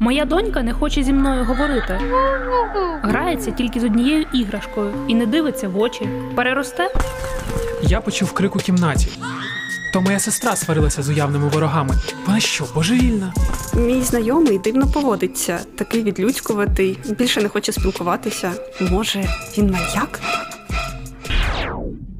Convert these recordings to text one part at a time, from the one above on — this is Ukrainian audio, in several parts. Моя донька не хоче зі мною говорити. Грається тільки з однією іграшкою і не дивиться в очі. Переросте? Я почув крик у кімнаті. То моя сестра сварилася з уявними ворогами. Вона що, божевільна? Мій знайомий дивно поводиться, такий відлюдькуватий, більше не хоче спілкуватися. Може, він маньяк?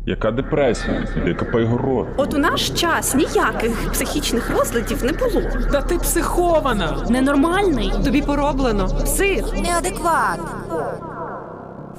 Яка депресія? Яка його рот? От у наш час ніяких психічних розладів не було. Та ти психована! Ненормальний? Тобі пороблено. Псих. Неадекват.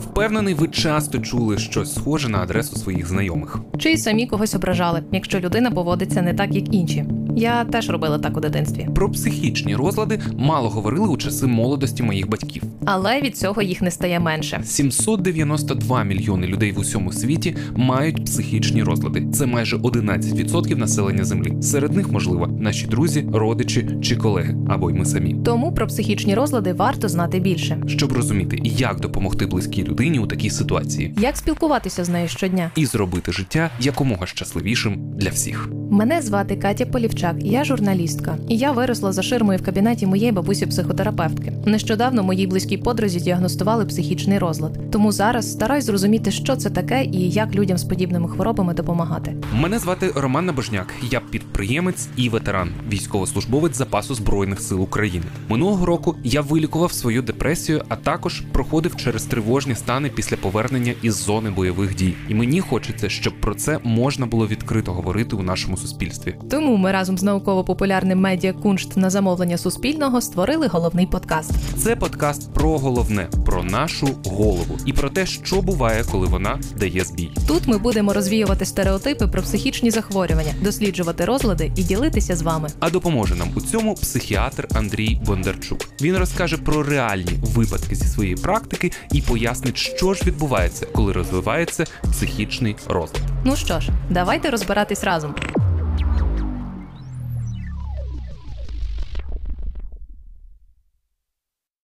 Впевнений, ви часто чули щось схоже на адресу своїх знайомих. Чи й самі когось ображали, якщо людина поводиться не так, як інші. Я теж робила так у дитинстві, Про психічні розлади мало говорили у часи молодості моїх батьків. але від цього їх не стає менше. 792 мільйони людей в усьому світі мають психічні розлади. Це майже 11% населення землі. Серед них, можливо, наші друзі, родичі чи колеги, або й ми самі. Тому про психічні розлади варто знати більше. Щоб розуміти, як допомогти близькій людині у такій ситуації, Як спілкуватися з нею щодня? і зробити життя якомога щасливішим для всіх. Мене звати Катя Полівчак, я журналістка, і я виросла за ширмою в кабінеті моєї бабусі психотерапевтки. Нещодавно моїй близькій подрузі діагностували психічний розлад. Тому зараз стараюсь зрозуміти, що це таке і як людям з подібними хворобами допомагати. Мене звати Роман Набожняк. Я підприємець і ветеран, військовослужбовець запасу збройних сил України. Минулого року я вилікував свою депресію, а також проходив через тривожні стани після повернення із зони бойових дій. І мені хочеться, щоб про це можна було відкрито говорити у нашому суспільстві. Тому ми разом з науково-популярним медіа Куншт на замовлення Суспільного створили головний подкаст. Це подкаст про головне, про нашу голову і про те, що буває, коли вона дає збій. Тут ми будемо розвіювати стереотипи про психічні захворювання, досліджувати розлади і ділитися з вами. А допоможе нам у цьому психіатр Андрій Бондарчук. Він розкаже про реальні випадки зі своєї практики і пояснить, що ж відбувається, коли розвивається психічний розлад. Ну що ж, давайте розбиратись разом.